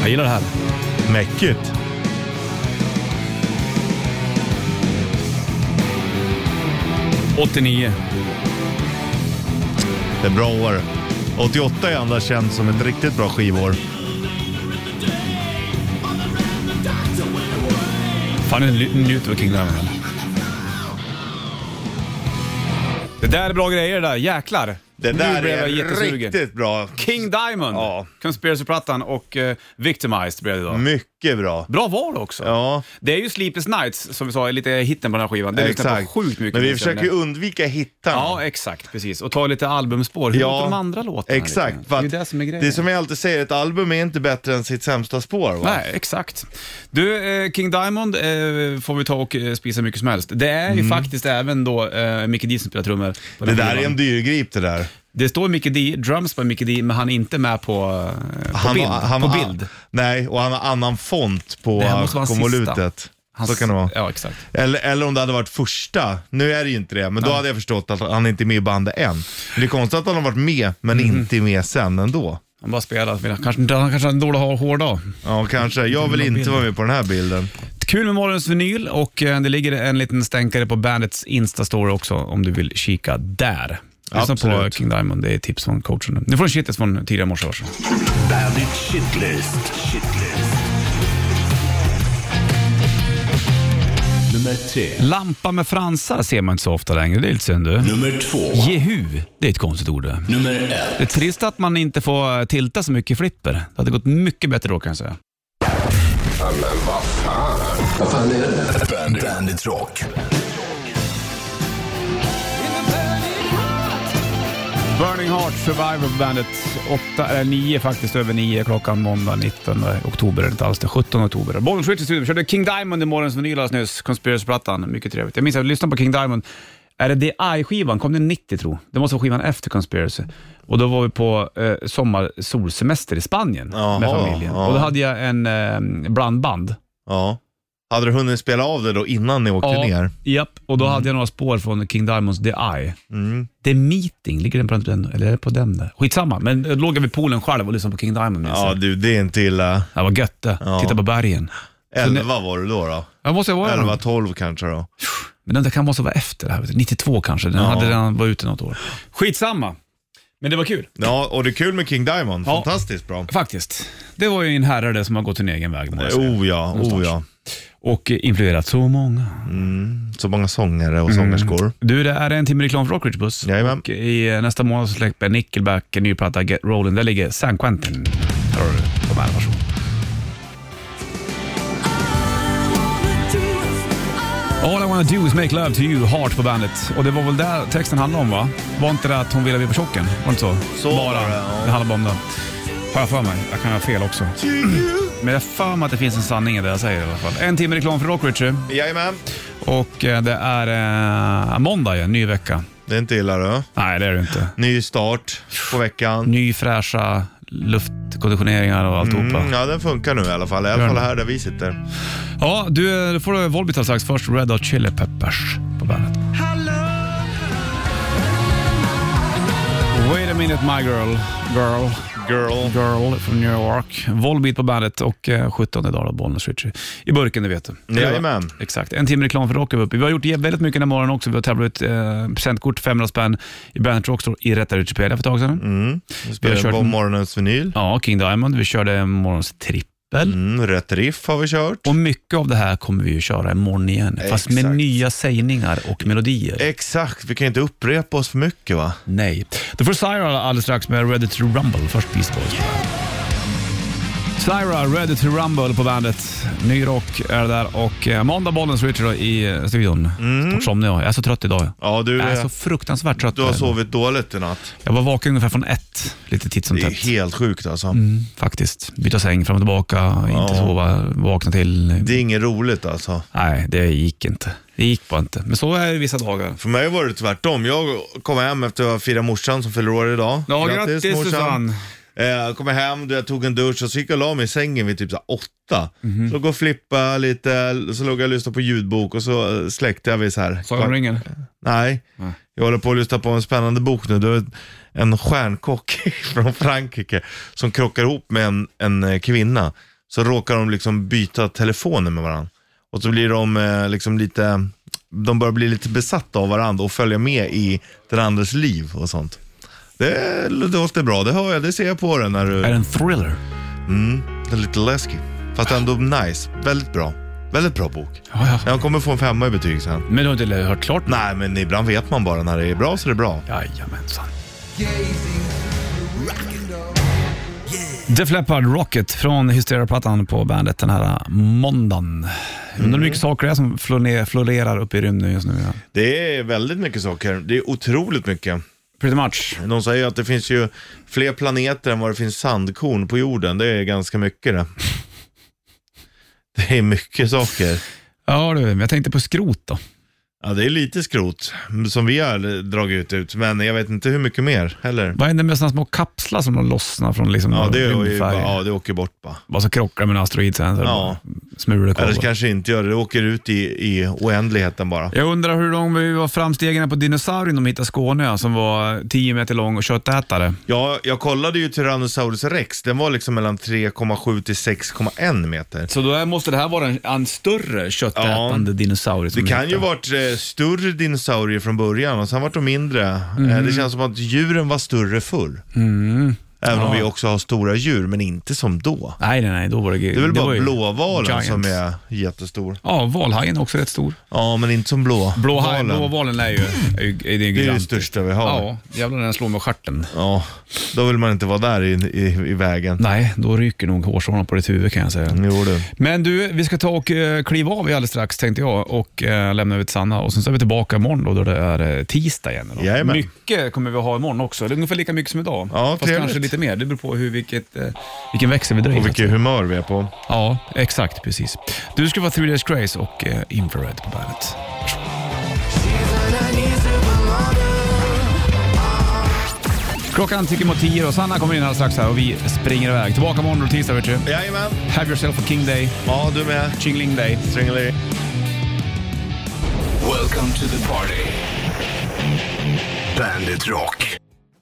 S2: Jag gillar det här.
S3: Mäckigt.
S2: Mm. 89.
S3: Det är bra år. 88 är ändå känt som ett riktigt bra skivår.
S2: Fan, nu njuter vi King Diamond. Det där är bra grejer det där, jäklar.
S3: Det
S2: Nu
S3: där
S2: blev jag
S3: är
S2: jättesugen.
S3: riktigt bra.
S2: King Diamond,
S3: Ja.
S2: Conspiracy-plattan och eh, Victimized blev det då.
S3: Mycket bra.
S2: Bra val också.
S3: Ja,
S2: Det är ju Sleepless Nights som vi sa är lite hitten på den här skivan. Det lyssnar på
S3: exakt.
S2: sjukt mycket.
S3: Men vi
S2: musik.
S3: försöker ju undvika hittarna.
S2: Ja, exakt. Precis. Och ta lite albumspår. Hur låter de andra låtarna? liksom?
S3: Exakt.
S2: lite?
S3: för
S2: Det är ju
S3: att
S2: det som är grejen.
S3: Det är som jag alltid säger, ett album är inte bättre än sitt sämsta spår. Va?
S2: Nej, exakt. Du, eh, King Diamond eh, får vi ta och eh, spisa mycket som helst. Det är ju faktiskt även då eh, Mickey D som spelar trummor. på
S3: Mm. Det
S2: den
S3: där
S2: skivan.
S3: är en dyrgrip det där.
S2: Det står Mickey D, drums by Mickey D, men han är inte med på, eh, på bild. på bild.
S3: Nej, och han har annan font på
S2: Det här måste vara hans
S3: konvolutet. Så
S2: Hans-
S3: kan det vara.
S2: Ja, exakt.
S3: Eller, eller om det hade varit första. Nu är det ju inte det, men då hade jag förstått att han inte är med i bandet än. Men det är konstigt att han har varit med, men
S2: Mm.
S3: inte är med sen ändå.
S2: Han bara spelar. men han Kanske, han kanske har en dålig hård dag.
S3: Ja, kanske. Jag vill inte vara med på den här bilden.
S2: Kul med morgonens vinyl och eh, det ligger en liten stänkare på bandets Insta-story också om du vill kika där. Lyssna på
S3: Absolut.
S2: King Diamond, det är tips från coachen. Nu får du en shitlist från tidigare morse. varsågod.
S1: Bandit Shitlist. Shitlist. Nummer tre.
S2: Lampa med fransar ser man inte så ofta längre. Det är lite synd du.
S1: Nummer två.
S2: Jehu, det är ett konstigt ord det.
S1: Nummer ett.
S2: Det är trist att man inte får eh, tilta så mycket i flipper. Det hade gått mycket bättre då kan jag säga.
S1: Bandit. Bandit Rock.
S2: Burning Heart Survivor på bandet. 8, eller 9 faktiskt, över 9 klockan måndag 19 oktober. Eller Inte alls det, 17 oktober. Bollen Switch i studion. Vi körde King Diamond i morgons vinyl alldeles nyss. Conspiracy-plattan. Mycket trevligt. Jag minns att jag lyssnade på King Diamond. Är det DI-skivan? Kom den 90 tro? Det måste vara skivan efter Conspiracy. Och då var vi på eh, sommarsolsemester i Spanien med
S3: Jaha,
S2: familjen.
S3: ja.
S2: Och då hade jag en eh, blandband.
S3: Ja. Hade du hunnit spela av det då innan ni åkte ner?
S2: Japp, och då hade jag några spår från King Diamonds The Eye.
S3: Mm.
S2: The Meeting, ligger den på den? Eller är det på den där? Skitsamma, men då låg jag vid poolen själv och lyssnade på King Diamond minns
S3: Ja
S2: jag.
S3: du, det är inte illa.
S2: Det var gött det.
S3: Ja.
S2: Titta på bergen. ni-
S3: Elva var du då? då?
S2: Jag måste jag vara
S3: Elva,
S2: där.
S3: tolv kanske då?
S2: Men den där kan måste vara efter det här. vet du. 92 kanske. Den
S3: Ja.
S2: hade redan varit ute något år. Skitsamma. Men det var kul.
S3: Ja, och det är kul med King Diamond.
S2: Ja.
S3: Fantastiskt bra.
S2: Faktiskt. Det var ju en herre där som har gått sin egen väg. må jag säga.
S3: Oh ja, oh ja.
S2: Och eh, influerat så många.
S3: Så många sångare
S2: Mm.
S3: och sångerskor.
S2: Du, det är en timme reklam för Rockridge Buss.
S3: Jajamän.
S2: Och i eh, nästa månad så släpper Nickelback en ny platta, Get Rolling. Där ligger San Quentin. Här har du de här, varsågod. All I wanna do is make love to you, Heart på bandet. Och det var väl där texten handlade om va? Var inte det att hon ville bli på tjocken? Var det inte så?
S3: Så var det, ja.
S2: Det handlar bara om det. Har jag för mig. Jag kan ha fel också. Men jag har för mig att det finns en sanning i det jag säger i alla fall. En timme reklam för Rockridge.
S3: Jajamän.
S2: Och eh, det är eh, måndag igen, ny vecka.
S3: Det är inte illa du.
S2: Nej, det är det inte.
S3: Ny start på veckan.
S2: Ny fräscha luftkonditioneringar och alltihopa.
S3: Mm, ja, den funkar nu i alla fall. I alla
S2: Gör
S3: fall
S2: den.
S3: här där vi sitter.
S2: Ja, du, eh, då får du Volbeat alldeles strax. Först Red Hot Chili Peppers på bandet. Wait a minute my girl, girl,
S3: Girl.
S2: girl från New York. Volbeat på bandet och eh, 17 idag då, Bollnäs Ritchie. I burken, det vet du.
S3: Jajamän.
S2: Exakt. En timme reklam för Rock är vi uppe. Vi har gjort väldigt mycket den här morgonen också. Vi har tävlat ut eh, presentkort, 500 spänn, i Bandet Rockstore i Rätta Wikipedia för ett tag sedan.
S3: Mm. Nu
S2: Vi har
S3: spelar
S2: kört-
S3: vi på morgonens vinyl.
S2: Ja, King Diamond. Vi körde morgons trippel.
S3: Mm, rätt riff har vi kört.
S2: Och mycket av det här kommer vi ju köra imorgon igen, fast med
S3: Exakt.
S2: nya sägningar och melodier.
S3: Exakt, vi kan inte upprepa oss för mycket va?
S2: Nej. Då får Syra alldeles strax med Ready to Rumble. Först Beast Boys. Syra, Ready to Rumble på bandet. Ny rock är det där och eh, måndag bollens Richard i eh, studion.
S3: Mm.
S2: Snart somnar jag. Jag är så trött idag.
S3: Ja, du,
S2: Jag är
S3: eh,
S2: så fruktansvärt trött.
S3: du har sovit dåligt i natt.
S2: Jag var vaken ungefär från ett, lite titt som
S3: Det är
S2: tätt.
S3: helt sjukt alltså.
S2: Mm, faktiskt. Byta säng fram och tillbaka, inte sova, vakna till.
S3: Det är inget roligt alltså.
S2: Nej, det gick inte. Det gick bara inte. Men så är det vissa dagar.
S3: För mig var det tvärtom. Jag kom hem efter att ha firat morsan som fyller år idag.
S2: Ja, grattis, Susanne.
S3: Eh, Jag kom hem, du, jag tog en dusch och så gick jag och la mig i sängen vid typ så här åtta.
S2: Mhm.
S3: Så låg jag och flippade lite, så låg jag och lyssnade på ljudbok och så eh, släckte jag vid så här.
S2: Sagan om ringen?
S3: Nej. Jag håller på att lyssna på en spännande bok nu. Det är en stjärnkock från Frankrike som krockar ihop med en, en eh, kvinna. Så råkar de liksom byta telefoner med varandra. Och så blir de eh, liksom lite, de börjar bli lite besatta av varandra och följa med i den andres liv och sånt. Det låter bra, det hör jag, det ser jag på den när du...
S2: Är det en thriller?
S3: Mm, det är lite läskig. Fast ändå nice, väldigt bra. Väldigt bra bok.
S2: Ja, ja.
S3: Jag kommer få en femma i betyg sen.
S2: Men du har inte hört klart?
S3: Nej, men ibland vet man bara när det är bra så är det bra.
S2: Jajamensan. Def Leppard Rocket från Hysteria-plattan på bandet den här måndagen.
S3: Mm.
S2: Undrar hur mycket saker det är som florne- florerar uppe i rymden just nu. Ja.
S3: Det är väldigt mycket saker. Det är otroligt mycket.
S2: Pretty much.
S3: De säger ju att det finns ju fler planeter än vad det finns sandkorn på jorden. Det är ganska mycket det. Det är mycket saker.
S2: Ja du, men jag tänkte på skrot då.
S3: Ja, det är lite skrot som vi har dragit ut, men jag vet inte hur mycket mer heller.
S2: Vad händer med sådana små kapslar som de lossnar från liksom
S3: Ja, det, är ju, bara-
S2: rymdfärger?
S3: ja, det åker bort bara.
S2: Bara så krockar de med en asteroid sen så är det
S3: Ja.
S2: bara smulor kvar.
S3: Eller så kanske inte gör det. Det åker ut i, i oändligheten bara.
S2: Jag undrar hur lång vi var framstegen på dinosaurien de hittade i Skåne som var 10 meter lång och köttätare.
S3: Ja, jag kollade ju Tyrannosaurus rex. Den var liksom mellan 3,7 till 6,1 meter.
S2: Så då är- måste det här vara en, en större köttätande dinosaurie. som
S3: Det
S2: vi
S3: kan ju
S2: hittar.
S3: varit eh, större
S2: Mm.
S3: dinosaurier från början och sen vart de mindre. Eh, det känns som att djuren var större förr. Även om
S2: Ja.
S3: vi också har stora djur, men inte som då.
S2: Nej, nej, nej, då var Mm, det
S3: Det är väl
S2: var
S3: bara
S2: ju
S3: blåvalen
S2: giants.
S3: som är jättestor.
S2: Ja, valhajen är också rätt stor.
S3: Ja, men inte som blå.
S2: Blåhaj,
S3: Valen.
S2: blåvalen är ju är, ju- är det
S3: Det är det största vi har.
S2: Ja, jävlar när den slår med stjärten.
S3: Ja, då vill man inte vara där i, i, i vägen.
S2: Nej, då ryker nog hårstråna på ditt huvud kan jag säga.
S3: Jo du.
S2: Men du, vi ska ta och eh, kliva av alldeles strax tänkte jag och eh, lämna över till Sanna. Och sen så är vi tillbaka imorgon då, då det är eh, tisdag igen. Då.
S3: Jajamän.
S2: Mycket kommer vi ha imorgon också. Det är ungefär lika mycket som idag.
S3: Ja,
S2: Fast
S3: trevligt.
S2: kanske lite mer. Det beror på hur, vilket, eh, vilken växel vi drar i,
S3: Och
S2: så att
S3: vilket humör vi är på.
S2: Ja, exakt. Precis. Du ska vara Three Days Grace och eh, Infrared på bandet. Klockan tickar mot tio och Sanna kommer in alldeles strax här och vi springer iväg. Tillbaka imorgon och tisdag vet du.
S3: Jajamän.
S2: Have yourself a king day,
S3: Ja, du med.
S2: chingling day.
S3: Stringeli.
S1: Welcome to the party. Bandit Rock.